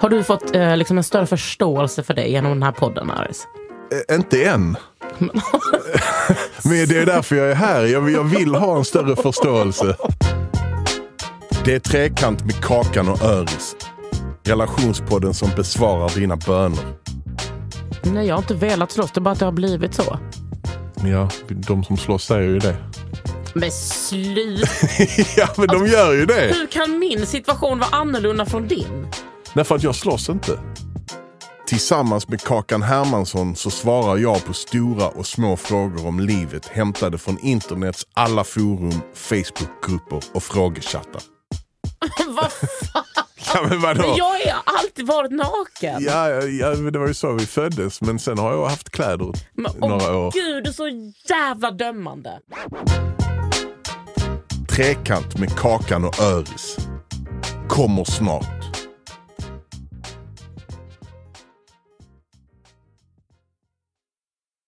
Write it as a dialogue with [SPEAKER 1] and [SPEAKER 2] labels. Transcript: [SPEAKER 1] Har du fått eh, liksom en större förståelse för dig genom den här podden, Aris?
[SPEAKER 2] Ä- Eh, Inte än. Men det är därför jag är här. Jag, jag vill ha en större förståelse. Det är Trekant med Kakan och Öris. Relationspodden som besvarar dina böner.
[SPEAKER 1] Nej, jag har inte velat slåss. Det är bara att det har blivit så.
[SPEAKER 2] Ja, de som slåss säger ju det.
[SPEAKER 1] Men sluta!
[SPEAKER 2] ja, men de gör ju det.
[SPEAKER 1] Hur kan min situation vara annorlunda från din?
[SPEAKER 2] Därför att jag slåss inte. Tillsammans med Kakan Hermansson så svarar jag på stora och små frågor om livet hämtade från internets alla forum, Facebookgrupper och frågechattar.
[SPEAKER 1] Vad fan?
[SPEAKER 2] Ja, men vadå?
[SPEAKER 1] Men jag har alltid varit naken.
[SPEAKER 2] Ja, ja, ja, men det var ju så vi föddes. Men sen har jag haft kläder
[SPEAKER 1] Men, åh,
[SPEAKER 2] några år.
[SPEAKER 1] Gud, du är så jävla dömande.
[SPEAKER 2] Trekant med Kakan och Öris. Kommer snart.